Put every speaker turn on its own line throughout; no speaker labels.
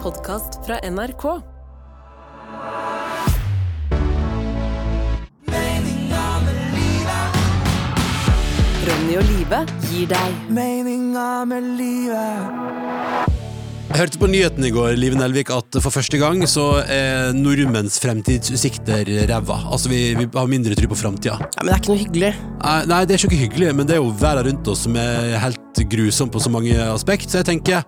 podkast fra NRK. Ronny og Live gir deg
Meninga med livet
Jeg hørte på nyheten i går, Liv Nelvik, at for første gang så er nordmenns fremtidsutsikter ræva. Altså, vi, vi har mindre tro på framtida.
Ja, men det er ikke noe hyggelig.
Nei, nei, det er ikke hyggelig, men det er jo verden rundt oss som er helt grusom på så mange aspekt, så jeg tenker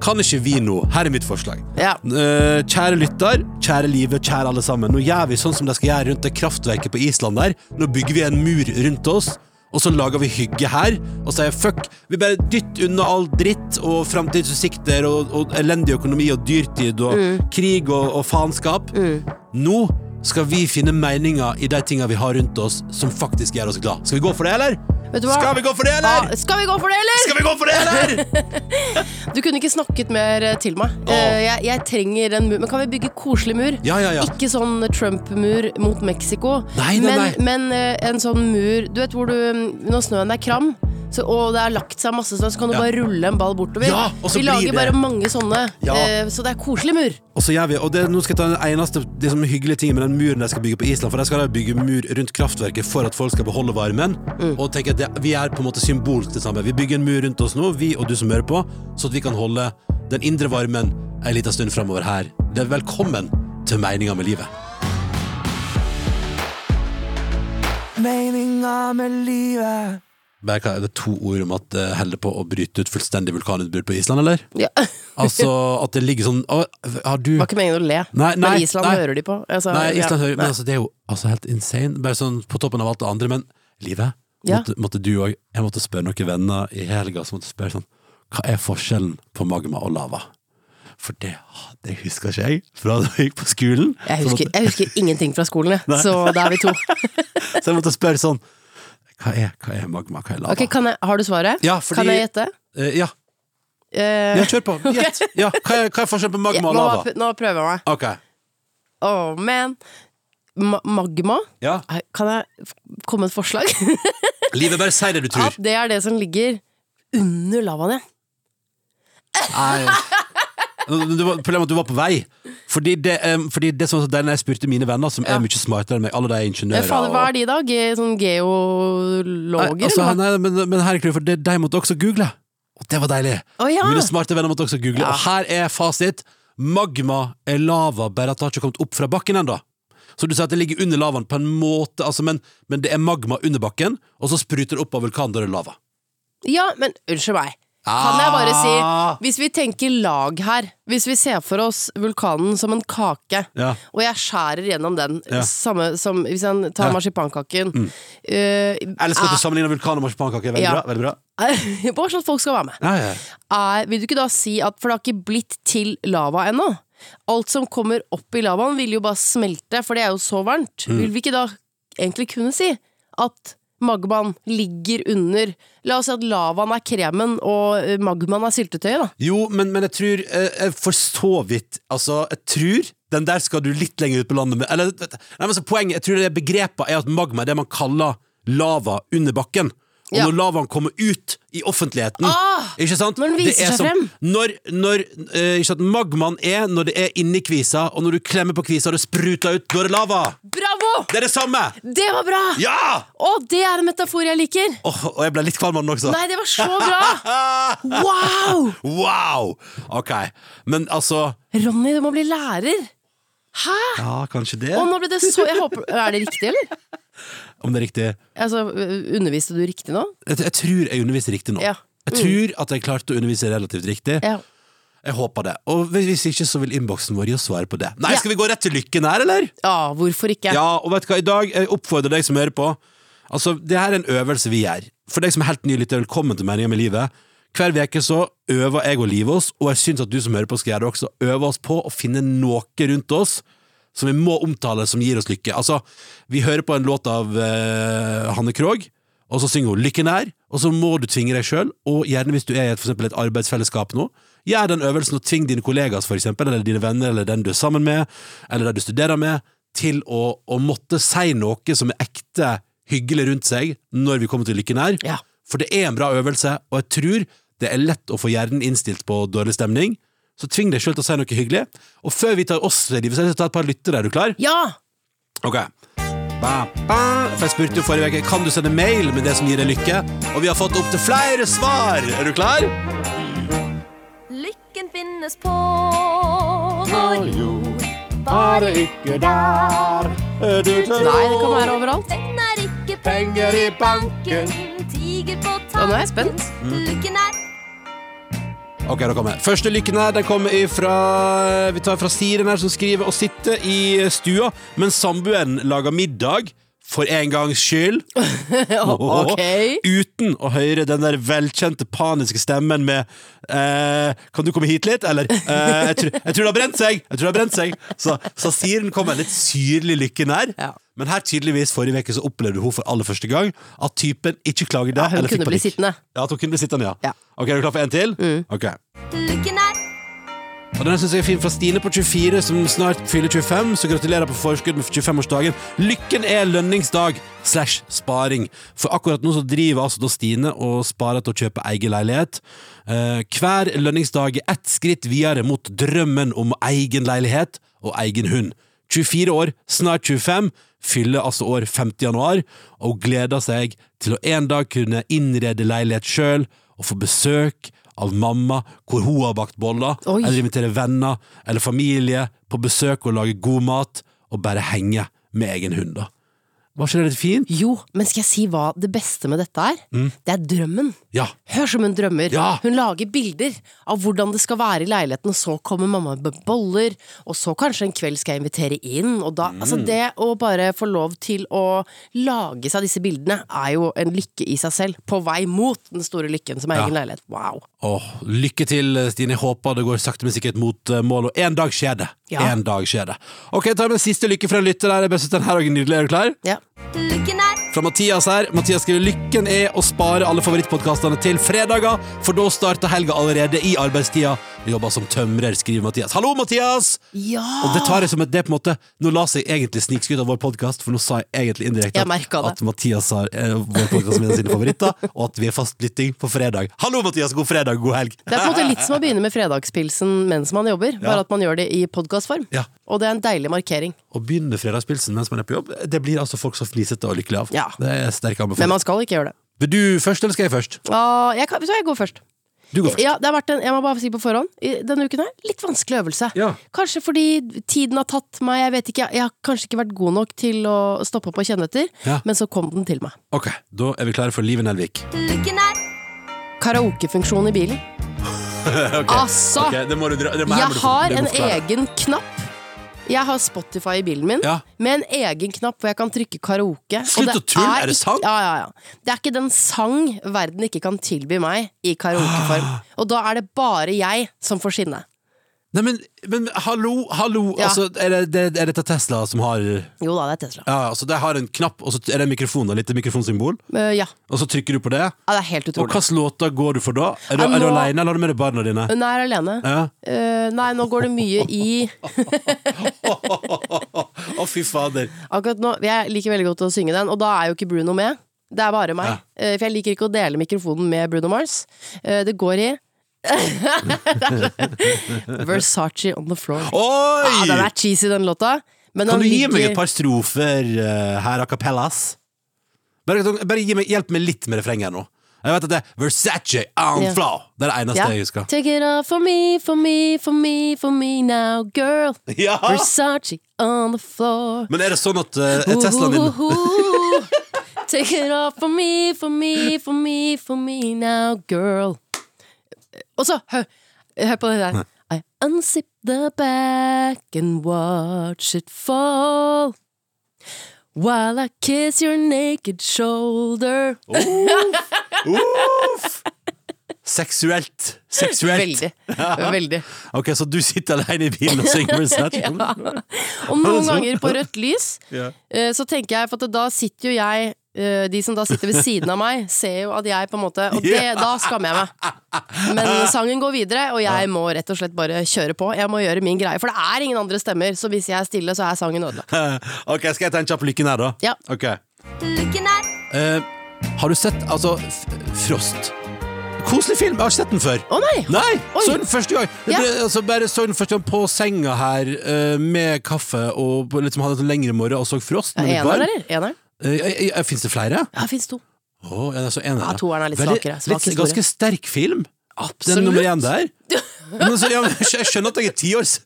kan ikke vi nå? Her er mitt forslag.
Ja.
Eh, kjære lytter, kjære livet, kjære alle sammen. Nå gjør vi sånn som de skal gjøre rundt det kraftverket på Island der. Nå bygger vi en mur rundt oss, og så lager vi hygge her, og sier fuck. Vi bare dytter unna all dritt og framtidsutsikter og, og elendig økonomi og dyrtid og
Mm.
krig og, og faenskap. Nå skal vi finne meninga i de tinga vi har rundt oss, som faktisk gjør oss glad. Skal vi gå for det, eller?
Vet du hva? Ah.
Skal vi gå for det, eller?
Ja, skal vi gå for det, eller?
Skal vi gå for det, eller?
Du kunne ikke snakket mer eh, til meg. Eh, Jeg, jeg trenger en mur. Men kan vi bygge koselig mur?
Ja, ja, ja.
Ikke sånn Trump-mur mot Mexico.
Nei, nei, nei.
Men, men eh, en sånn mur Du vet hvor du mm, Når snøen er kram, så, og det er lagt seg masse snø, så kan du
Ja.
bare rulle en ball bortover.
Ja, og så
vi
blir
lager
det-
bare mange sånne.
Ja.
eh, Så det er koselig mur.
Og så gjør vi, og det, nå skal jeg ta den eneste liksom, hyggelige tingen med den muren de skal bygge på Island. For de skal da bygge mur rundt kraftverket for at folk skal beholde varmen. Og tenke at det, vi er på en måte symbolsk det samme. Vi bygger en mur rundt oss nå, vi og du som hører på, så at vi kan holde den indre varmen en liten stund framover her. Det er velkommen til meninga med livet.
Meninga med livet
Bare, hva er det to ord om at det holder på å bryte ut fullstendig vulkanutbrudd på Island, eller?
Ja. Det
Altså at det ligger sånn å, Har du
var ikke meningen å le,
Nei, nei,
men Island
nei.
hører de på. Altså,
Nei,
ja.
Island hører
Nei.
Men altså, det er jo altså, helt insane. Bare sånn på toppen av alt det andre. Men livet,
Ja.
måtte, måtte du òg Jeg måtte spørre noen venner i helga som måtte jeg spørre sånn Hva er forskjellen på magma og lava? For det, det husker ikke jeg fra da jeg gikk på skolen.
Jeg
altså, så,
husker,
måtte,
jeg husker ingenting fra skolen, jeg. Så da er vi to.
så jeg måtte spørre sånn Hva er, hva er magma, hva er lava?
Ok, kan jeg, Har du svaret?
Ja, fordi-
Kan jeg gjette?
Eh, ja.
Eh,
ja, kjør på. Gjett. Ja, hva, er, hva er forskjellen på
ja,
magma og
nå,
lava?
nå prøver jeg meg.
Ok.
Oh, man. Ma magma?
Ja.
Eh, Kan jeg f- komme med et forslag?
Livet, bare si det du tror.
At det er det som ligger under lavaen, ja.
Nei. Det var, problemet var at du var på vei. Fordi det, um, fordi det som var så deilig når jeg spurte mine venner, som
Ja.
er mye smartere enn meg, alle de er ingeniører
Eh, Fader, hva er de, da? Ge sånn
Nei,
geologer?
altså,
eller hva?
nei, men, men her er clouet, for det- de måtte også google. Og det var deilig.
Å, ja.
Mine smarte venner måtte også google.
Ja.
Og her er fasit. Magma er lava, bare at det har ikke kommet opp fra bakken ennå. Så du sier at det ligger under lavaen på en måte, altså, men, men det er magma under bakken, og så spruter det opp av vulkanen der det er Ah. lava.
Ja, men unnskyld meg. Kan jeg bare si Hvis vi tenker lag her, hvis vi ser for oss vulkanen som en kake,
Ja.
og jeg skærer gjennom den,
Ja.
samme som hvis jeg
Ja.
tar
Mm.
marsipankaken eh,
Ellers skal du
er-
sammenligne vulkan og marsipankake. Veldig
Ja.
bra. Veldig bra.
Bare sånn at folk skal være med.
Ja, ja.
Er, vil du ikke da si at For det har ikke blitt til lava ennå. Alt som kommer opp i lavaen, vil jo bare smelte, for det er jo så varmt.
Mm.
Vil vi ikke da egentlig kunne si at magmaen ligger under La oss si at lavaen er kremen, og eh, magmaen er syltetøyet, da.
Jo, men, men jeg tror eh, jeg For så vidt Altså, jeg tror den der skal du litt lenger ut på landet med Eller, vet du, nei, men så poenget Jeg tror det begrepet er at magma er det man kaller lava under bakken Og
Ja.
når lavaen kommer ut i offentligheten
Ah!
Ikke sant?
Når den
Det
viser
er
seg
som-
frem.
Når, når eh, ikke sant, magmaen er når det er inni kvisa Og når du klemmer på kvisa og det spruter ut Da er det lava
Bravo!
Det er det samme
Det var bra!
Ja!
Å, det er en metafor jeg liker!
Åh, og jeg ble litt kvalm av den også Ah,
Nei, det var så bra! Wow!
Wow! Ok, men altså
Ronny, du må bli lærer. Hæ?
Ja, kanskje det
Å, nå ble det så jeg håper, Er det riktig, eller?
Om det er riktig
Altså, ø- Underviste du riktig nå?
jeg, jeg tror jeg underviser riktig nå.
Ja. Mm.
Jeg tror at jeg klarte å undervise relativt riktig.
Ja.
Jeg håper det. Og hvis ikke, så vil innboksen vår gi oss svar på det. Nei,
Ja.
Skal vi gå rett til lykken her, eller?
Ja, hvorfor ikke?
Ja, og vet du hva, i dag jeg oppfordrer deg som hører på. Altså, det her er en øvelse vi gjør. For deg som er helt ny lytter, velkommen til Meninga med livet. Hver uke så øver jeg og livet oss, og jeg syns at du som hører på skal gjøre det også, øve oss på å finne noe rundt oss som vi må omtale som gir oss lykke. Altså, vi hører på en låt av eh, Hanne Krogh, og så synger hun 'Lykken er', og så må du tvinge deg sjøl, og gjerne hvis du er i et, for eksempel et arbeidsfellesskap nå, gjør den øvelsen og tving dine kollegaer, for eksempel, eller dine venner, eller den du er sammen med, eller den du studerer med, til å, å måtte si noe som er ekte hyggelig rundt seg når vi kommer til 'Lykken er'.
Ja.
For det er en bra øvelse, og jeg tror det er lett å få hjernen innstilt på dårlig stemning, så tving deg sjøl til å si noe hyggelig. Og før vi tar oss livet, så har jeg lyst til å ta et par lyttere. Er du klar?
Ja!
Ok. Ba, ba. For jeg spurte jo forrige uke kan du sende mail med det som gir deg lykke, og vi har fått opptil flere svar. Er du klar?
Lykken finnes på vår jord, bare ikke der.
Nei, det kan være overalt.
Den er ikke penger i banken, tiger på
Ja,
tanken.
nå er jeg spent.
Lykken er
Ok, da kommer jeg. Første lykken her, den kommer ifra Vi tar fra Siren her, som skriver å sitte i stua mens samboeren lager middag. For en gangs skyld.
Ok.
Uten å høre den der velkjente paniske stemmen med eh, 'Kan du komme hit litt?' eller eh, jeg, tror, 'Jeg tror det har brent seg!' Jeg tror det har brent seg Så, så Siren kom med en litt syrlig lykke nær.
Ja.
Men her tydeligvis forrige uke så opplevde hun for aller første gang at typen ikke klagde.
hun
eller fikk
kunne bli
panikk.
sittende.
Ja, at hun kunne bli sittende, ja.
Ja. Mm.
Ok, Er du klar for en til? Ok
Lykken er
og den synes jeg er fin fra Stine på 24, som snart fyller 25. Så gratulerer på forskudd med 25-årsdagen. Lykken er lønningsdag slash sparing. For akkurat nå så driver altså da Stine og sparer til å kjøpe egen leilighet. Eh, hver lønningsdag er ett skritt videre mot drømmen om egen leilighet og egen hund. 24 år, snart 25, fyller altså år 50 januar, og gleder seg til å en dag kunne innrede leilighet sjøl og få besøk av mamma hvor hun har bakt boller,
Oi.
eller invitere venner eller familie på besøk og lage god mat, og bare henge med egen hund, da. Var ikke det litt fint?
Jo, men skal jeg si hva det beste med dette er? Det er drømmen.
Ja.
Hør som hun drømmer.
Ja.
Hun lager bilder av hvordan det skal være i leiligheten, og så kommer mamma med boller, og så kanskje en kveld skal jeg invitere inn, og da Altså, det å bare få lov til å lage seg disse bildene er jo en lykke i seg selv, på vei mot den store lykken som er egen leilighet. Wow.
Åh, lykke til, Stine. Jeg håper det går sakte, men sikkert mot eh, mål, og en dag skjer det.
Ja.
En dag skjer det. Ok, jeg tar med en siste lykke fra en lytter her. Jeg bare synes den her er nydelig. Er du klar?
Ja.
Lykken er
Fra Mathias her. Mathias skriver lykken er å spare alle favorittpodkastene til fredager, for da starter helga allerede i arbeidstida. Jobber som tømrer, skriver Mathias. Hallo, Mathias! Og det tar jeg som et det på en måte Nå la seg egentlig snikskryt av vår podkast, for nå sa jeg egentlig indirekte
Jeg merket det.
at Mathias har eh, vår podkast som en av sine favoritter, og at vi er fastlytting på fredag. Hallo, Mathias! God fredag, god helg!
Det er på en måte litt som å begynne med fredagspilsen mens man jobber, bare at man gjør det i podkastform.
Ja.
Og det er en deilig markering.
Å begynne fredagspilsen mens man er på jobb, det blir altså folk så fnisete og lykkelige av.
Ja.
Det er sterk
Men
anbefaling.
man skal ikke gjøre det.
Vil du først, eller skal jeg først?
Ah, jeg, kan, vet du hva, jeg går først.
Du går først.
Ja, det har vært en, jeg må bare si på forhånd, i denne uken her, litt vanskelig øvelse.
Ja.
Kanskje fordi tiden har tatt meg, jeg vet ikke, jeg har kanskje ikke vært god nok til å stoppe opp og kjenne etter,
Ja.
men så kom den til meg.
Ok, da er vi klare for Live Nelvik.
Lykken er
Karaokefunksjon i bilen. Altså!
Ok, det må du dra. Det må, her må
Jeg
du-
har
det må du
en
forklare.
egen knapp. Jeg har Spotify i bilen min,
Ja.
med en egen knapp hvor jeg kan trykke karaoke. og
Slutt å tulle, er det
ikke-
sant?
Ja, ja, ja. Det er ikke den sang verden ikke kan tilby meg i
Ah.
karaokeform. Og da er det bare jeg som får skinne.
Nei, men, men hallo, hallo!
Ja.
Altså, er, det, det, er dette Tesla som har
Jo da, det er Tesla.
Ja, altså, det har en knapp, og så er det en mikrofon og litt mikrofonsymbol,
Eh, ja.
og så trykker du på det.
ja, det er helt
Og
utrolig.
hvilke låter går du for da? Er du,
Ja,
er du
nå-
aleine, eller har du med deg barna dine?
Hun er alene.
Ja.
Eh, nei, nå går det mye i
Å, fy fader.
Akkurat nå, Jeg liker veldig godt å synge den, og da er jo ikke Bruno med. Det er bare meg.
Ja.
Eh, for jeg liker ikke å dele mikrofonen med Bruno Mars. Eh, det går i Versace on the floor.
Oi!
Ja, den er cheesy, den låta. Men
kan
den
du gi meg
ligger-
et par strofer eh, her a cappellas? Bare, bare gi meg, hjelp meg litt med refrenget her nå. Jeg vet at det er Versace on
Ja.
flow. Det er det eneste
Ja.
jeg husker.
Take it off for me, for me, for me, for me now, girl.
Ja.
Versace on the floor.
Men er det sånn at eh, er Teslaen din
Ooh, Take it off for me, for me, for me, for me now, girl. Og så, hør, hør på det der. I unzip the back and watch it fall. While I kiss your naked shoulder.
Uff! Seksuelt. Seksuelt.
Veldig. Veldig.
Ok, så du sitter alene i bilen og synger Versace?
Og noen
Altså.
ganger på rødt lys,
Ja.
eh, så tenker jeg, for at da sitter jo jeg eh, De som da sitter ved siden av meg, ser jo at jeg på en måte Og det,
Ja.
da skammer jeg meg. Men sangen går videre, og jeg må rett og slett bare kjøre på. Jeg må gjøre min greie, for det er ingen andre stemmer, så hvis jeg er stille, så er sangen ødelagt.
Ok, skal jeg ta en kjapp lykken her, da?
Ja.
Ok.
Lykken er
Eh, har du sett, altså, f Frost Koselig film, jeg har ikke sett den før.
Å nei!
Nei!
Oi.
Så den første gang. Jeg
Ja.
ble, altså, bare så den første gang på senga her eh, med kaffe og liksom hadde en sånn lengre morgen og så Frost.
Ja,
når vi var.
Eneren, eller? Eneren?
Eh, jeg- jeg- Fins det flere?
Ja, det fins to.
Å, ja, det er så eneren,
Ja, toeren er litt
Veldig-
svakere, svak
litt-
historie.
ganske sterk film. Den nummer én der. Men altså, ja, men, jeg skjønner at jeg er tiårs.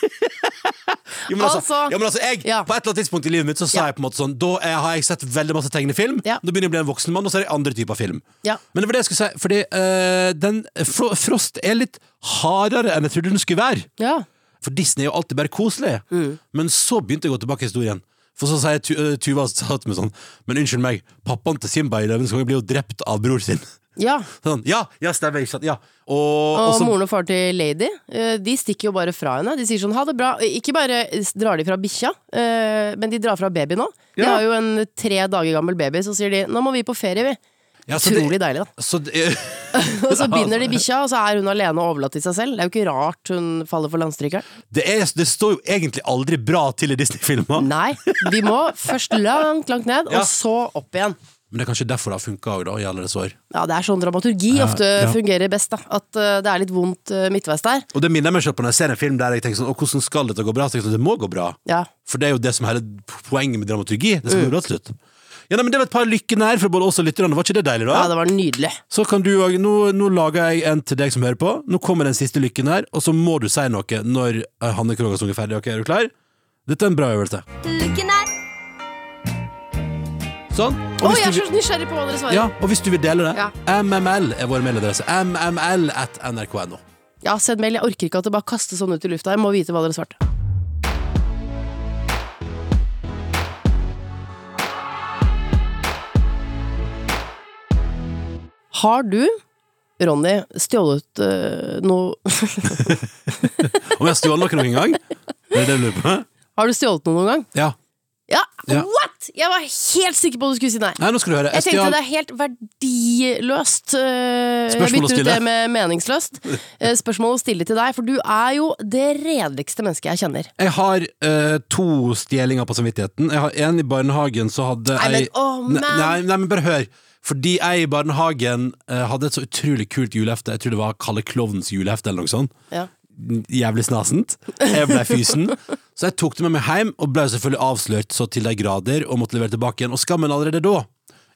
jo, men altså,
Altså,
ja, men altså jeg,
ja.
På et eller annet tidspunkt i livet mitt Så sa
Ja.
jeg på en måte sånn Da er, har jeg sett veldig masse tegnefilm.
Ja.
Da begynner jeg å bli en voksen mann, og så er det andre typer film.
Ja.
Men det var det jeg skulle si, fordi eh, den, Fro- Frost er litt hardere enn jeg trodde den skulle være.
Ja.
For Disney er jo alltid bare koselig.
Mm.
Men så begynte jeg å gå tilbake i historien. For så sier Tu- eh, Tuva sa til meg sånn Men unnskyld meg, pappaen til Simba i Løvens konge blir jo drept av bror sin.
ja.
Sånn, ja, ja, stemmer, ikke sant. Ja. Og,
Og
og så-
moren og far til Lady eh, De stikker jo bare fra henne. De sier sånn ha det bra. Ikke bare drar de fra bikkja, eh, men de drar fra babyen òg. De
Ja.
har jo en tre dager gammel baby, så sier de nå må vi på ferie, vi.
ja, så det-
Utrolig deilig, da.
Så det,
Og så binder de bikkja, og så er hun alene og overlatt til seg selv. Det er jo ikke rart hun faller for landstrykeren.
det, er, det står jo egentlig aldri bra til i Disney-filmer.
Nei, vi må først langt, langt ned,
Ja.
og så opp igjen.
Men det er kanskje derfor det har funka òg, da, i alle dets år.
Ja, det er sånn dramaturgi ofte
ja.
fungerer best, da. At eh, det er litt vondt eh, midtveis der.
Og det minner jeg meg selv på når jeg ser en film der jeg tenker sånn Å, hvordan skal dette gå bra? Så tenker jeg sånn, det må gå bra.
Ja.
For det er jo det som er hele poenget med dramaturgi. Det
Mm.
skal gå bra til slutt. Ja, nei, men det var et par lykkenær for både oss og lytterne. Var ikke det deilig, da?
ja, det var nydelig.
Så kan du òg nå, nå lager jeg en til deg som hører på. Nå kommer den siste lykken her, og så må du si noe når eh, Hanne Krogh har sunget ferdig. Ok, er du klar? Dette er en bra øvelse.
Lykken er
Sånn.
Å,
hvis
jeg er
du
så nysgjerrig på hva dere
vil,
svarer.
ja,
Ja,
og hvis du vil dele det,
Ja.
MML er vår mailadresse. MML at nrk.no.
send mail. Jeg orker ikke at det bare kastes sånn ut i lufta. Jeg må vite hva dere svarte. Har du, Ronny, stjålet eh, noe
Om jeg har stjålet noe noen gang? Er det det du lurer på?
Har du stjålet noe noen gang?
Ja.
Ja,
Ja.
what?! Jeg var helt sikker på at du skulle si nei.
Nei, nå skal du høre.
Jeg tenkte
stjal-
det er helt verdiløst. eh, Jeg
Spørsmål å
bytter ut
stille.
det med meningsløst. Eh, Spørsmål å stille til deg, for du er jo det redeligste mennesket jeg kjenner.
Jeg har eh, to stjelinger på samvittigheten. Jeg har En i barnehagen, så hadde
Nei, men,
jeg
åh,
Ne-
man.
nei, nei, men bare hør. Fordi jeg i barnehagen eh, hadde et så utrolig kult julehefte. Jeg tror det var Kalle Klovnens julehefte eller noe sånt.
Ja.
Jævlig snasent. Jeg ble fysen. Så jeg tok det med meg hjem, og ble selvfølgelig avslørt så til de grader, og måtte levere tilbake igjen. Og skammen allerede da,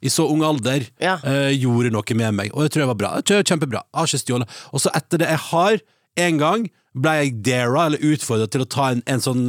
i så ung alder,
Ja.
eh, gjorde noe med meg. Og jeg tror jeg var bra. Jeg tror jeg var Kjempebra. Jeg har ikke stjålet. Og så etter det jeg har, en gang, ble jeg dara, eller utfordra til å ta en, en sånn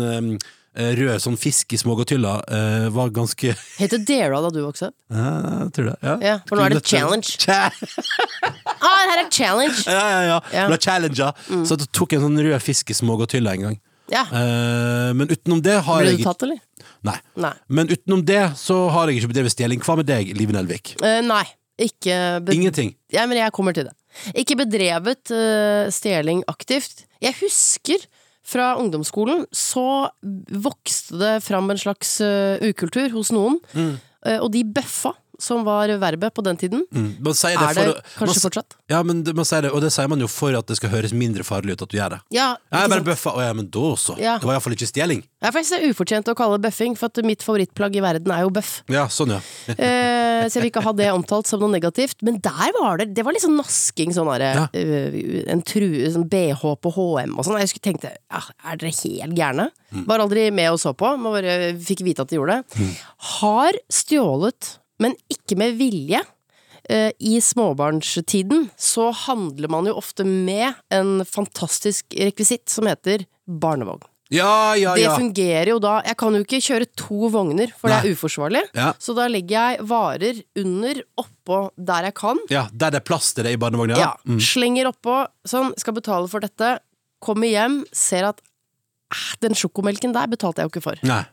eh, rød sånn fisk i små gåtyller. Eh, var ganske
Het det Dara da du vokste opp?
ja, jeg tror det. Ja.
Ja, for nå er det challenge.
Cha-
Ah, det her er challenge!
ja, ja, ja.
Ja. Mm.
Det er challenger. Så jeg tok en sånn rød fiskesmågodtylle en gang.
Ja.
Eh, men utenom det har
Ble
jeg
du tatt, eller?
Nei.
Nei.
Men utenom det så har jeg ikke bedrevet stjeling. Hva med deg, Live Nelvik?
Eh, nei. Ikke be-
Ingenting.
Ja, men jeg kommer til det. Ikke bedrevet eh, stjeling aktivt. Jeg husker fra ungdomsskolen så vokste det fram en slags eh, ukultur hos noen.
Mm.
Eh, og de bøffa, som var verbet på den tiden,
Man sier Mm. det
er det
for, å- man,
kanskje
s-
fortsatt.
Ja, men det- man sier det, og det sier man jo for at det skal høres mindre farlig ut at du gjør det.
Ja,
Jeg er
ikke
bare
sant?
bøffa. Å ja, men da så.
Ja.
Det var iallfall ikke stjeling.
Ja, for jeg synes det er ufortjent å kalle det bøffing, for at mitt favorittplagg i verden er jo bøff.
Ja, sånn, ja.
Eh, så jeg vil ikke ha det omtalt som noe negativt. Men der var det Det var litt sånn nasking, sånn derre
Ja.
eh, En true, sånn BH på HM og sånn. Jeg husker tenkte ja, er dere helt gærne?
Mm.
Var aldri med og så på, men bare fikk vite at de gjorde det. Har stjålet, men ikke med vilje. Eh, I småbarnstiden så handler man jo ofte med en fantastisk rekvisitt som heter barnevogn.
Ja, ja,
Det
Ah, ja.
fungerer jo da Jeg kan jo ikke kjøre to vogner, for det
Nei.
er uforsvarlig.
Ja.
Så da legger jeg varer under, oppå, der jeg kan.
ja der det er plass til det i barnevogna?
Ja,
Mm.
Slenger oppå, sånn, skal betale for dette. Kommer hjem, ser at "Ah, den sjokomelken der betalte jeg jo ikke for.
Nei.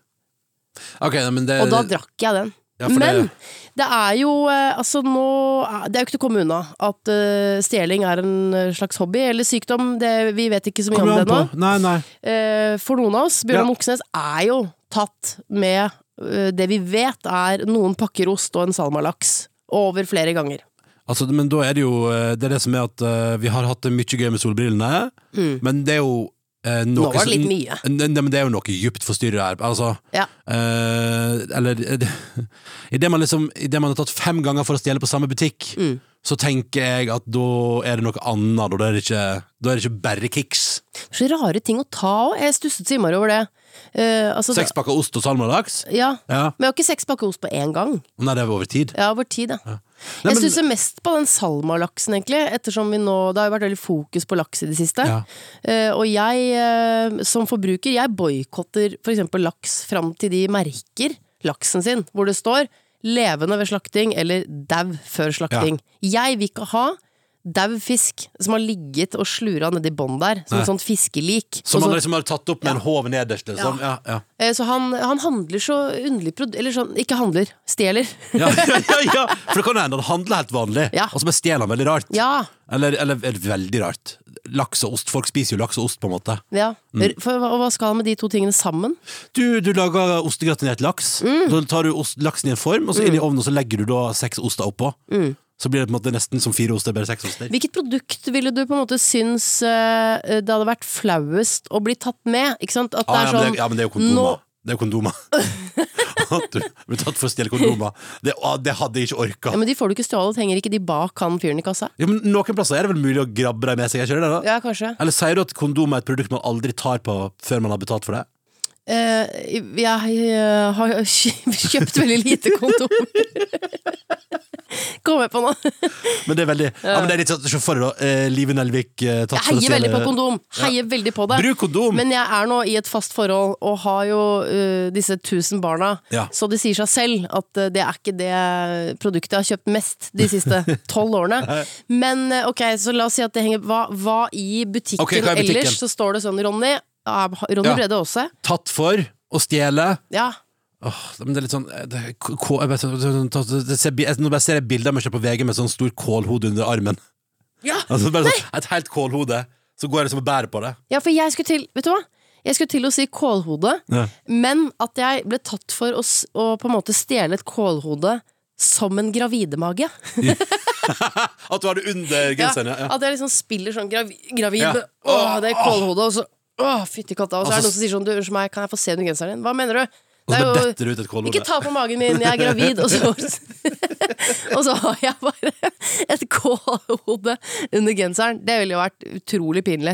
Ok, nei, men det
Og da drakk jeg den.
Eh, Ja, for det-
Men det er jo eh, altså nå, er- det er jo ikke til å komme unna at eh, stjeling er en eh, slags hobby eller sykdom. Det, vi vet ikke så mye om
Kommer
det
an
nå.
på. Nei, nei.
Eh, for noen av oss, Bjørnar
Ja.
Moxnes er jo tatt med eh, det vi vet er noen pakker ost og en salmalaks. Over flere ganger.
Altså, men da er det jo eh, Det er det som er at eh, vi har hatt det mye gøy med solbrillene, men det er jo eh,
Mm. Nå
noe
var det litt
som-
mye.
Nei, nei, men det er jo noe dypt forstyrret her. Altså,
Ja.
eh, eller Idet man, liksom, i det man har tatt fem ganger for å stjele på samme butikk,
Mm.
så tenker jeg at da er det noe annet. Da er det ikke, da er det ikke bare Kicks.
Så rare ting å ta òg. Jeg stusset så innmari over det. Eh, altså,
Seks pakker ost og salmalaks?
da- Ja.
Ja.
Men jeg har ikke seks pakker ost på én gang.
Nei, det var over tid.
Ja, over tid, ja.
Nei,
jeg
men-
stusser mest på den salmalaksen, egentlig. Ettersom vi nå, Det har jo vært veldig fokus på laks i det siste.
Ja.
Eh, og jeg eh, som forbruker, jeg boikotter f.eks. laks fram til de merker laksen sin, hvor det står 'levende ved slakting' eller 'dau før slakting'. Jeg vil ikke ha dau fisk som har ligget og slura nedi bånd der, som et sånt fiskelik.
Som
Og
man
så-
liksom har tatt opp med en håv nederst. Liksom. Ja. Ja,
Eh, Så han, han handler så underlig prod... Eller sånn, ikke handler, stjeler.
ja. Ja, ja, ja. For det kan jo hende han handler helt vanlig,
Ja.
og så bare stjeler han veldig rart.
Ja.
Eller, eller eller veldig rart. Laks og ost. Folk spiser jo laks og ost, på en måte.
ja.
Mm.
Eh, For, hva- og hva skal han med de to tingene sammen?
Du, du lager ostegratinert laks.
Mm.
Da tar du ost, laksen i en form, og så inn i ovnen og så legger du da seks oster oppå.
Mm.
Så blir det på en måte nesten som fire oster, bare seks oster.
Hvilket produkt ville du på en måte syns eh, det hadde vært flauest å bli tatt med? Ikke sant? At
Ah,
det
ja,
er
men
sånn
det, ja, men det er jo
nå-
kondomer. Det er jo kondomer. At du blir tatt for å stjele kondomer. Det, ah, det hadde jeg ikke orka.
ja, men De får du ikke stjålet, henger ikke de bak han fyren i kassa?
Ja, men noen plasser er det vel mulig å grabbe dem med seg? er Ikke det, da?
Ja, kanskje.
Eller sier du at kondom er et produkt man aldri tar på før man har betalt for det?
Eh, jeg eh, har kjøpt veldig lite kondomer. Kommer jeg på nå.
Men det er veldig ja. men det er litt sånn Se for deg, da. Eh, Live Nelvik eh, tatt
Jeg
for å
heier veldig på
stjele-
kondom. Heier veldig på det.
Bruk kondom!
Men jeg er nå i et fast forhold og har jo ø, disse tusen barna,
Ja.
så det sier seg selv at ø, det er ikke det produktet jeg har kjøpt mest de siste tolv årene. Men ø, ok, så la oss si at det henger Hva, hva i butikken
Ok, hva er butikken?
ellers? Så står det sånn Ronny. ja, Ronny
Ja.
Brede Aase.
Tatt for å stjele
Ja.
Åh, men det er litt sånn eh, det, er k- k- jeg bare ser- det ser- jeg- Nå bare ser jeg bilder av meg selv på VG med sånn stor kålhode under armen.
Ja.
Altså bare sånn, Et helt kålhode. Så går jeg liksom og bærer på det.
ja, for jeg skulle til Vet du hva? Jeg skulle til å si kålhode,
Ja.
men at jeg ble tatt for å, s- å på en måte stjele et kålhode som en gravidemage.
At du har det under genseren, ja. ja.
At jeg liksom spiller sånn gravi, gravid
Ja.
med Åh, det er kålhodet, og så Åh, fytti katta. Og så er det
Altså,
noen som sier sånn Du, unnskyld meg, kan jeg få se under genseren din? Hva mener du?
Og
Det
så
er
bare
jo
detter det ut et kålhode.
ikke ta på magen min, jeg er gravid, og så Og så har jeg bare et kålhode under genseren. Det ville jo vært utrolig pinlig.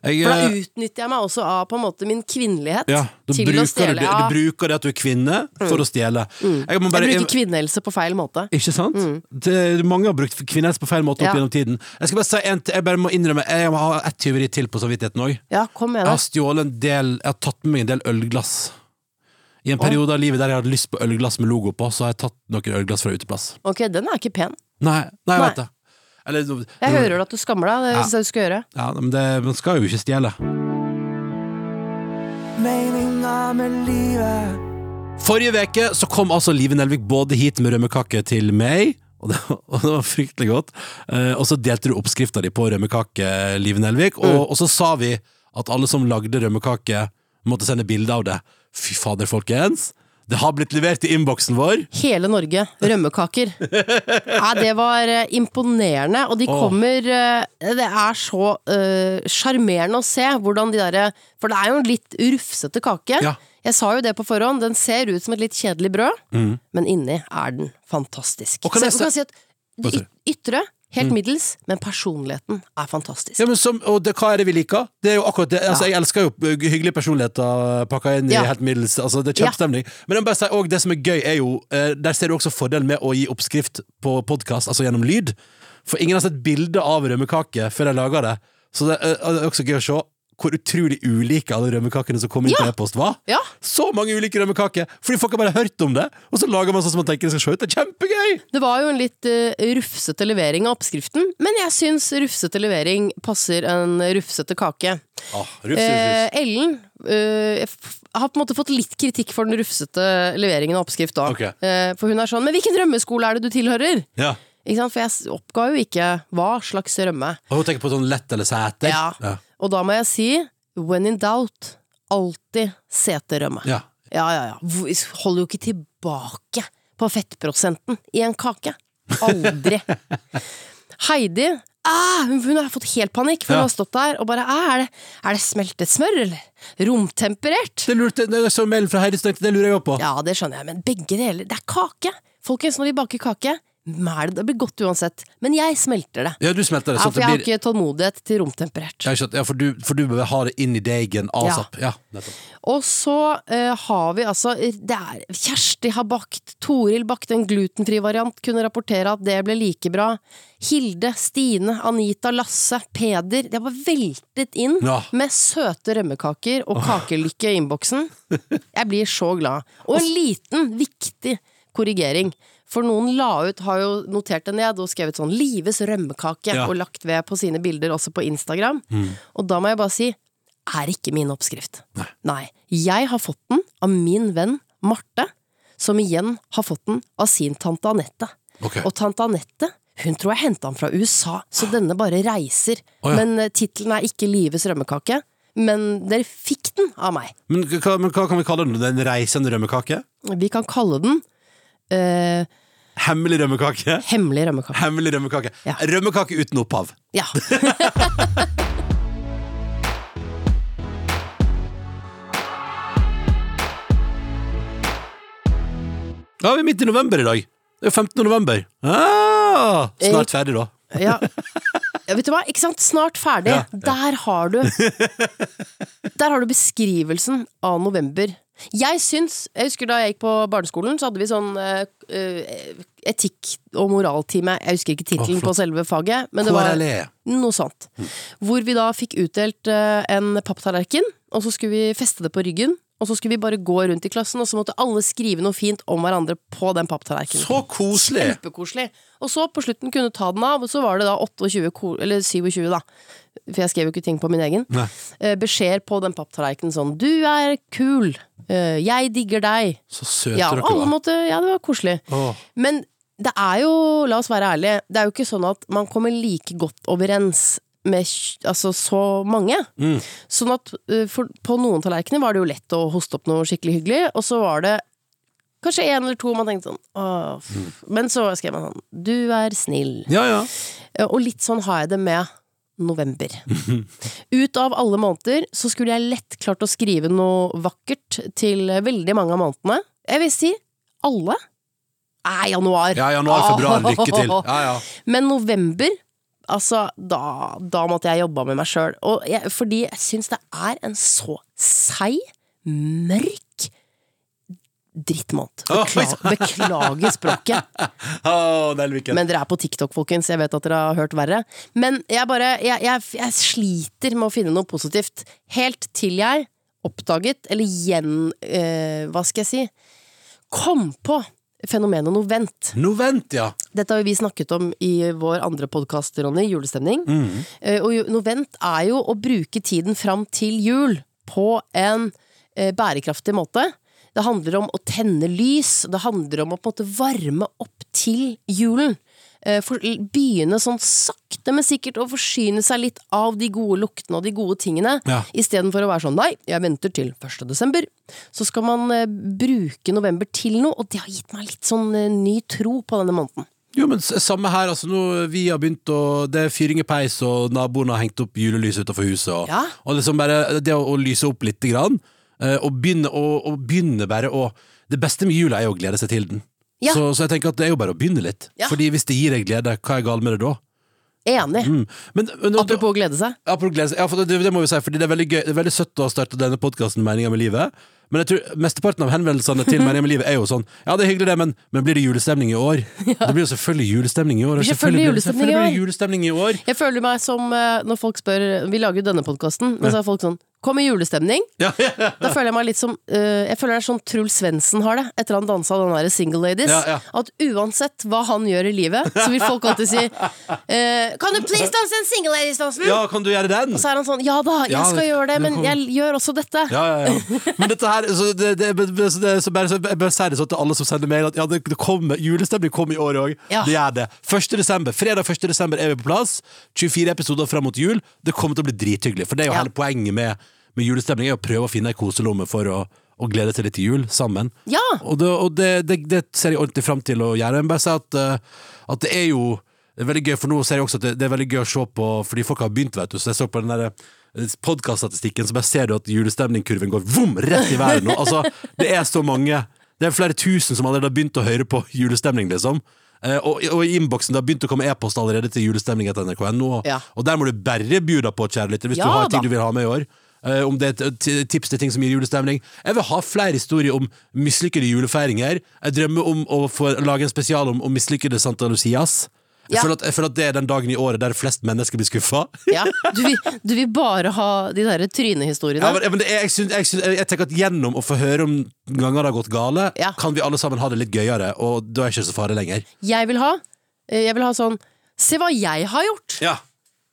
Jeg,
For da
eh,
utnytter jeg meg også av på en måte min kvinnelighet
ja, da
til
bruker
å stjele.
Du, det-
Ja. Mm.
du bruker det at du er kvinne, for å stjele. Jeg, må bare-
jeg bruker kvinnehelse på feil måte.
Ikke sant? Det, mange har brukt kvinnehelse på feil måte opp
Ja.
gjennom tiden. Jeg skal bare si en, t- jeg bare må innrømme Jeg har ett tyveri til på samvittigheten òg.
Ja, kom med
Jeg har
det.
stjålet en del Jeg har tatt med meg en del ølglass. I en periode av livet der jeg hadde lyst på ølglass med logo på, så har jeg tatt noen ølglass fra uteplass.
Ok, den er ikke pen.
Nei, nei jeg
Nei.
vet det. Eller,
Jeg hører at du skammer deg. Det
Mm. Ja.
syns jeg du skal gjøre.
Ja, men det, man skal jo ikke stjele.
Meninga med livet.
Forrige veke så kom altså Live Nelvik både hit med rømmekake til meg, og det, og det var fryktelig godt, eh, og så delte du oppskrifta di på rømmekake, Live Nelvik, og,
Mm.
og så sa vi at alle som lagde rømmekake, måtte sende bilde av det. Fy fader, folkens. Det har blitt levert i innboksen vår.
Hele Norge, rømmekaker. Nei, det var eh, imponerende, og de
Åh.
kommer eh, Det er så eh, sjarmerende å se hvordan de derre For det er jo en litt rufsete kake.
Ja.
Jeg sa jo det på forhånd, den ser ut som et litt kjedelig brød, men inni er den fantastisk.
Mm. Og kan
Så
jeg
du
se-
kan si at
Hva
det
sier Mm.
yt- ytre helt middels, men personligheten er fantastisk.
Ja, men som, og det, hva er det vi liker? Det er jo akkurat det. Altså, Jeg elsker jo eh, hyggelige personligheter eh, pakka inn
Ja.
i helt middels. Altså, det er
Ja.
kjempestemning. Men jeg må bare si, og det som er gøy, er jo eh, Der ser du også fordelen med å gi oppskrift på podkast, altså gjennom lyd. For ingen har sett bilde av rømmekake før de laga det. Så det, eh, og det er også gøy å se hvor utrolig ulike alle rømmekakene som kom inn på e-post, var.
Ja.
Så mange ulike rømmekaker! Fordi folk har bare hørt om det, og så lager man sånn som man tenker det skal se ut. Det er kjempegøy!
Det var jo en litt eh, rufsete levering av oppskriften, men jeg syns rufsete levering passer en rufsete kake.
Ah, rufs,
Eh,
rufs,
Ellen eh, f- har på en måte fått litt kritikk for den rufsete leveringen av oppskrift. da
Ok.
eh, For hun er sånn 'Men hvilken rømmeskole er det du tilhører?'
rufs. Ja.
Ikke sant? For jeg s- oppga jo ikke hva slags rømme.
Og hun tenker på sånn lett eller sæter.
Ja.
Ja.
Og da må jeg si 'when in doubt'. Alltid seterømme.
Ja.
ja, ja. ja. Hvor- Holder jo ikke tilbake på fettprosenten i en kake. Aldri. Heidi ah, hun, hun har fått helt panikk, for
Ja.
hun har stått der og bare ah, er, det, er det smeltet smør, eller? Romtemperert?
Det lurte, det, jeg så mailen fra Heidi Stengte, det lurer jeg også på.
Ja, det skjønner jeg, men begge deler. Det er kake! Folkens, når vi baker kake, mæl det. Det blir godt uansett. Men jeg smelter det.
Ja, du smelter det,
Ja,
sånn at
for jeg
det
har
blir
ikke tålmodighet til romtemperert.
ja, ikke sant. ja, for, du, for du bør ha det inn i deigen asap. Ja. nettopp.
Og så eh, har vi altså det er, Kjersti har bakt, Toril bakte en glutenfri variant, kunne rapportere at det ble like bra. Hilde, Stine, Anita, Lasse, Peder Det var veltet inn
Ja.
med søte rømmekaker og kakelykke i innboksen. Jeg blir så glad. Og en liten, viktig korrigering. For noen la ut, har jo notert det ned og skrevet sånn 'Lives rømmekake'
Ja.
og lagt ved på sine bilder også på Instagram. Og da må jeg bare si er ikke min oppskrift. Nei. Jeg har fått den av min venn Marte, som igjen har fått den av sin tante Anette.
Ok.
Og tante Anette hun tror jeg henta den fra USA, så denne bare reiser.
Å ja.
Men eh, tittelen er ikke Lives rømmekake. Men dere fikk den av meg.
Men, hva, men hva kan vi kalle den? Den reisende rømmekake?
Vi kan kalle den eh,
Hemmelig rømmekake?
Hemmelig rømmekake.
Hemmelig rømmekake.
Ja.
Rømmekake uten opphav.
Ja.
Ja, vi er midt i november i dag. Det er jo 15. november. Ah,
Eh,
snart ferdig, da.
ja. ja vet du hva? Ikke sant? Snart ferdig.
Ja,
Der har du Der har du beskrivelsen av november. Jeg syns Jeg husker da jeg gikk på barneskolen, så hadde vi sånn eh, eh, etikk- og moraltime. Jeg husker ikke tittelen
Å, flott.
på selve faget, men det var
KRLE.
noe sånt. Hvor vi da fikk utdelt eh, en papptallerken, og så skulle vi feste det på ryggen. Og så skulle vi bare gå rundt i klassen, og så måtte alle skrive noe fint om hverandre på den papptallerkenen.
Så koselig!
Kjempekoselig. Og så på slutten kunne du ta den av, og så var det da 28, ko- eller 27, da. For jeg skrev jo ikke ting på min egen.
Nei.
Eh, Beskjeder på den papptallerkenen sånn 'Du er kul'. eh, 'Jeg digger deg'.
Så søte
Ja,
dere
alle
var.
måtte, ja, det var koselig.
Åh.
Men det er jo, la oss være ærlige, det er jo ikke sånn at man kommer like godt overens med tj- altså, så mange. Sånn at eh, for, på noen tallerkener var det jo lett å hoste opp noe skikkelig hyggelig, og så var det kanskje én eller to man tenkte sånn åh, f- Men så skrev man sånn 'Du er snill'.
Ja, ja.
Eh, Og litt sånn har jeg det med november. Ut av alle måneder så skulle jeg lett klart å skrive noe vakkert til veldig mange av månedene. Jeg vil si alle. Nei, januar.
Ja, januar, februar,
Ah.
lykke til. Ja, ja.
Men november, altså, da, da måtte jeg jobba med meg sjøl. Fordi jeg syns det er en så seig, mørk drittmåned. Beklager, beklager språket.
Åh, Nelviken.
Men dere er på TikTok, folkens. Jeg vet at dere har hørt verre. Men jeg bare jeg, jeg, jeg sliter med å finne noe positivt. Helt til jeg oppdaget, eller gjen... Eh, hva skal jeg si? Kom på fenomenet novent.
Nå vent, ja.
Dette har jo vi snakket om i vår andre podkast, Ronny, julestemning. Eh, Og jo- novent er jo å bruke tiden fram til jul på en eh, bærekraftig måte. Det handler om å tenne lys, det handler om å på en måte varme opp til julen. Eh, For, begynne sånn sakte, men sikkert å forsyne seg litt av de gode luktene og de gode tingene.
Ja.
Istedenfor å være sånn nei, jeg venter til 1. desember. Så skal man eh, bruke november til noe, og det har gitt meg litt sånn eh, ny tro på denne måneden.
Jo, men s- samme her, altså nå vi har begynt å Det er fyring i peis, og naboen har hengt opp julelys utenfor huset. Og,
Ja.
og liksom bare det å, å lyse opp lite grann, eh, og begynne, å- å begynne bare å Det beste med jula er jo å glede seg til den.
Ja.
Så, så jeg tenker at det er jo bare å begynne litt.
Ja.
Fordi hvis det gir deg glede, hva er galt med det da?
Enig.
Mm. Men, men,
Apropos å glede seg.
Apropos glede seg. Ja, for det, det må vi si, fordi det er veldig gøy Det er veldig søtt å ha startet denne podkasten Meninga med livet. Men jeg tror mesteparten av henvendelsene til Meninga med livet er jo sånn Ja, det er hyggelig, det, men, men blir det julestemning i år? Det blir jo selvfølgelig julestemning i år. og
Blir
blir
selvfølgelig
det-
julestemning i
selvfølgelig blir det
år.
julestemning i år.
Jeg føler meg som eh, når folk spør Vi lager jo denne podkasten, men så er folk sånn Kom i julestemning.
Ja, ja, ja.
Da føler jeg meg litt som eh, Jeg føler det er sånn Truls Svendsen har det, etter han dansa den derre Single Ladies.
Ja, ja.
At uansett hva han gjør i livet, så vil folk alltid si eh, Kan du please danse den Single Ladies-dansen?
ja, kan du gjøre den?
Og så er han sånn Ja da, jeg
Ja,
skal
det-
gjøre det,
det
men
kommer.
jeg gjør også dette.
Ja, ja, ja. Men dette her så det, det, det, så det, så bare, så Jeg bare sier det sånn til alle som sender mail, at ja, det, det kommer, julestemning kommer i år òg.
Ja.
Det gjør det. 1. desember, fredag 1. desember er vi på plass. 24 episoder fram mot jul. Det kommer til å bli drithyggelig. For det er jo
Ja.
hele poenget med, med julestemning, er å prøve å finne ei koselomme for å, å glede seg litt til jul sammen.
Ja.
Og, det, og det, det, det ser jeg ordentlig fram til å gjøre. Men bare si at, eh, at det er jo Det er veldig gøy, for nå ser jeg også at det, det er veldig gøy å se på Fordi folk har begynt, vet du Så jeg så på den der podcaststatistikken Så bare ser du at julestemningkurven går Vom! Rett i været nå Altså, det er så mange Det er flere tusen som allerede har begynt å høre på julestemning, liksom Eh, og, og i innboksen, det har begynt å komme e-post allerede til julestemning etter NRK.no og,
Ja.
og der må du bare bjuda på, kjære lytter Hvis
Ja
du har ting
da.
du vil ha med i år Eh, om det er et- et tips til ting som gir julestemning. Jeg vil ha flere historier om mislykkede julefeiringer. Jeg drømmer om å få lage en spesial om, om mislykkede Santa Lucias. Jeg,
Ja.
føler at, jeg føler at det er den dagen i året der flest mennesker blir skuffa.
Ja, du, vil, du vil bare ha de derre trynehistoriene.
Ja, men, ja, men det er, jeg, syns- jeg, syns- jeg tenker at gjennom å få høre om ganger det har gått gale,
Ja.
kan vi alle sammen ha det litt gøyere, og da er ikke det så farlig lenger.
Jeg vil ha eh, Jeg vil ha sånn Se hva jeg har gjort!
Ja.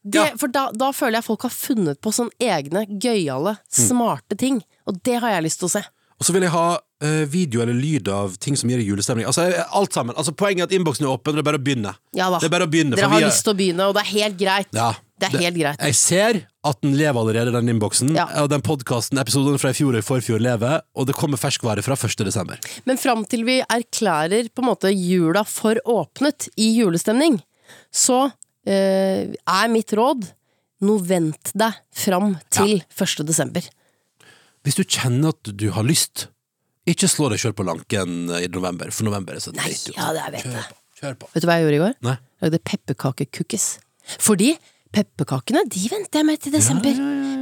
Det,
Ja.
For da, da føler jeg folk har funnet på sånn egne, gøyale,
Mm.
smarte ting. Og det har jeg lyst til å se.
Og så vil jeg ha eh, video eller lyd av ting som gir julestemning. Altså, jeg- alt sammen. Altså, poenget er at innboksen er åpen, og det er bare å begynne.
Ja da.
Det er bare å begynne
Dere
for
har
vi er-
lyst til å begynne, og det er helt greit.
Ja, Eh.
Det er helt greit.
Jeg ser at den lever allerede, den innboksen.
Ja.
Og den podkasten, episoden fra i fjor og i forfjor lever, og det kommer ferskvare fra 1. desember.
Men fram til vi erklærer på en måte jula for åpnet i julestemning, så eh, er mitt råd nå vent deg fram til 1. desember.
Hvis du kjenner at du har lyst, ikke slå deg sjøl på lanken i november, for november er så
Nei,
dritt.
ja, det vet jeg.
Kjør på. Kjør på.
Vet du hva jeg gjorde i går?
Nei.
Lagde pepperkakekukkis. Fordi pepperkakene de venter jeg med til desember.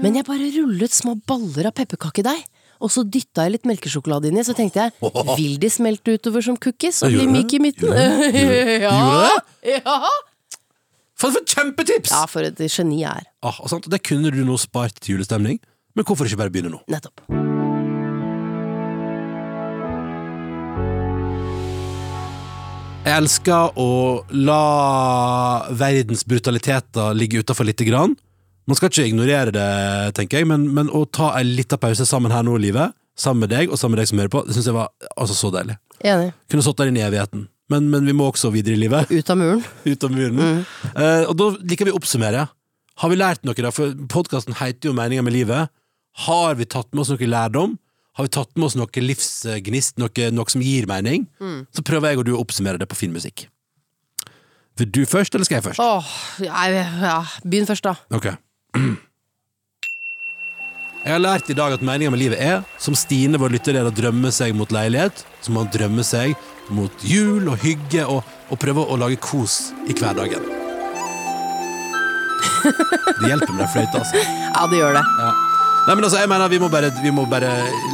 Men jeg bare rullet små baller av pepperkakedeig. Og så dytta jeg litt melkesjokolade inni, så tenkte jeg vil de smelte utover som cookies og
Ja,
bli
gjorde
myk i
det?
midten?
Gjorde det? Gjorde det?
Ja!
Gjorde
ja.
Faen, for et kjempetips!
ja, for et geni jeg er.
Ah, og sant? og Det kunne du nå spart til julestemning, men hvorfor ikke bare begynne nå?
Nettopp.
Jeg elsker å la verdens brutaliteter ligge utafor lite grann. Man skal ikke ignorere det, tenker jeg, men, men å ta en liten pause sammen her nå, livet, sammen med deg og sammen med deg som hører på, det syns jeg var altså, så deilig.
Enig.
Kunne stått der inne i evigheten. Men, men vi må også videre i livet.
Ut av muren.
Ut av muren. Eh, og da liker vi å oppsummere. Har vi lært noe, da? For podkasten heter jo Meninger med livet. Har vi tatt med oss noe lærdom? Har vi tatt med oss noe livsgnist, noe, noe som gir mening? Så prøver jeg og du å oppsummere det på fin musikk. Vil du først, eller skal jeg først?
Åh, nei, ja. Begynn først, da.
Ok. Jeg har lært i dag at meninga med livet er, som Stine, vår lytterleder, drømmer seg mot leilighet, som han drømmer seg mot jul og hygge, og, og prøver å lage kos i hverdagen. Det hjelper med den fløyta, altså.
Ja, det gjør det.
Nei, men altså, jeg mener, vi må bare, vi må bare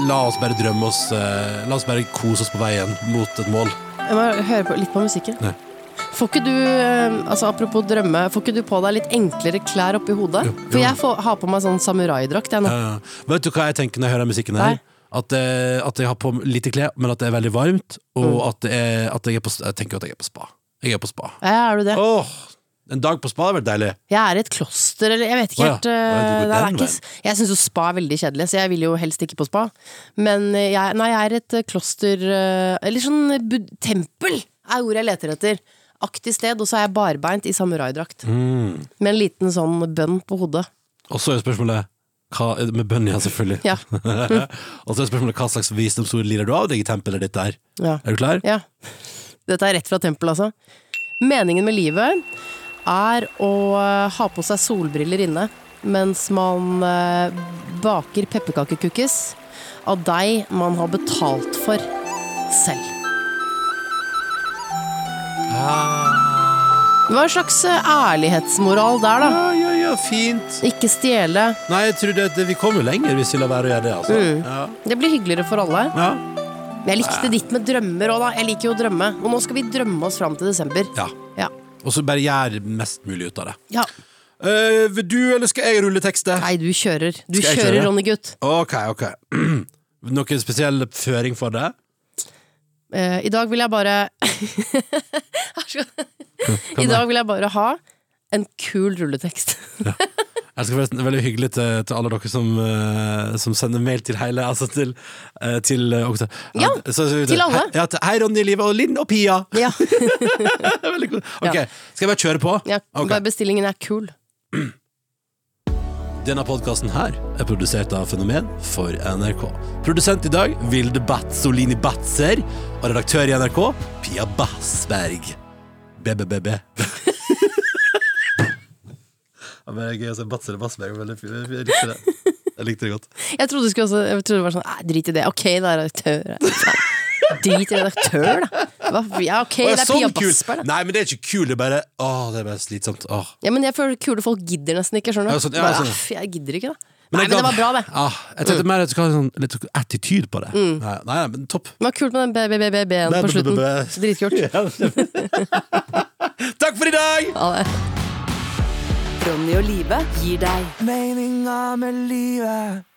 la oss bare drømme oss eh, La oss bare kose oss på veien mot et mål.
Jeg må høre på, litt på musikken.
Nei.
Får ikke du, eh, altså apropos drømme, får ikke du på deg litt enklere klær oppi hodet?
Jo, jo.
For jeg får, har på meg sånn samuraidrakt, jeg nå.
Ja, ja. Eh, Vet du hva jeg tenker når jeg hører musikken her?
Nei.
At, eh, at jeg har på lite klær, men at det er veldig varmt, og
Mm.
at, det er, at jeg, er på, jeg tenker at jeg er på spa. Jeg er på spa.
Ja, er du det?
Åh, en dag på spa hadde vært deilig.
Jeg er i et kloster, eller jeg vet ikke
Å ja.
helt.
Nei, du
eh,
går
det er
den
ikke, s- jeg syns jo spa er veldig kjedelig, så jeg vil jo helst ikke på spa. Men eh, jeg, nei, jeg er i et eh, kloster eh, Eller sånn bud tempel er ordet jeg leter etter. Aktig sted, og så er jeg barbeint i samuraidrakt.
Mm.
Med en liten sånn bønn på hodet.
Og så er spørsmålet hva, Med bønn, ja, selvfølgelig.
Ja.
og så er spørsmålet hva slags visdomsord lider du av deg i tempelet ditt der?
Ja.
Er du klar?
Ja. Dette er rett fra tempelet, altså. Meningen med livet er å eh, ha på seg solbriller inne mens man eh, baker pepperkakekukkis av deg man har betalt for selv. Det var en slags eh, ærlighetsmoral der, da.
Ja, ja, ja, fint.
Ikke stjele.
Nei, jeg tror det, det, vi kommer lenger hvis vi lar være å gjøre det, altså.
Mm. Det blir hyggeligere for alle.
Ja.
Men jeg likte ditt med drømmer òg, da. Jeg liker jo å drømme. Og nå skal vi drømme oss fram til desember.
Ja. ja.
Ja.
Og så bare gjør mest mulig ut av det.
ja.
Eh, vil du, eller skal jeg rulle tekstet?
Nei, du kjører. Du
Skal jeg
kjører,
kjøre?
Ronny Gutt.
Ok, ok. Noen spesiell føring for det?
Eh, I dag vil jeg bare I dag vil jeg bare ha en kul rulletekst.
Jeg skal forresten Veldig hyggelig til, til alle dere som, eh, som sender mail til hele Altså til, eh, til eh, også-
Ja, til alle.
Hei, ja, til, hei Ronny, Live og Linn og Pia!
ja,
Veldig god. Ok, Skal jeg bare kjøre på?
ja
Ok.
Bare bestillingen er kul.
Denne podkasten her er produsert av Fenomen for NRK. Produsent i dag Vilde Batzolini Batzer, og redaktør i NRK Pia Bassberg. BBBB. Ja, men jeg, altså, Batser og Bassberg var veldig fint. Jeg likte det. Jeg likte det godt.
Jeg trodde, du skulle også, jeg trodde det var sånn Nei, drit i det. Ok, det er redaktør. her. Drit i redaktør, da. Hva- Ja, ok,
Å, jeg
det er
sånn
Pia
kul.
Bassberg, da.
Nei, men det er ikke kul, det er bare Åh, det er bare slitsomt. Åh.
Ja, men jeg føler kule folk gidder nesten ikke, skjønner du.
Ja, sånn, ja,
Bare,
sånn.
«Aff, jeg gidder ikke, da.
Men
Nei,
jeg
men det
ga-
var bra, det. Mm.
Ja, jeg tenkte mer at du skal ha en sånn, litt attityd på det. Nei, nei, men topp.
Det var kult med den BBBB-en
Bæ,
på
bæ, bæ,
slutten.
bæ.
Dritkult.
Takk for i dag!
Ha det.
Ronny og Live gir deg
Meninga med livet.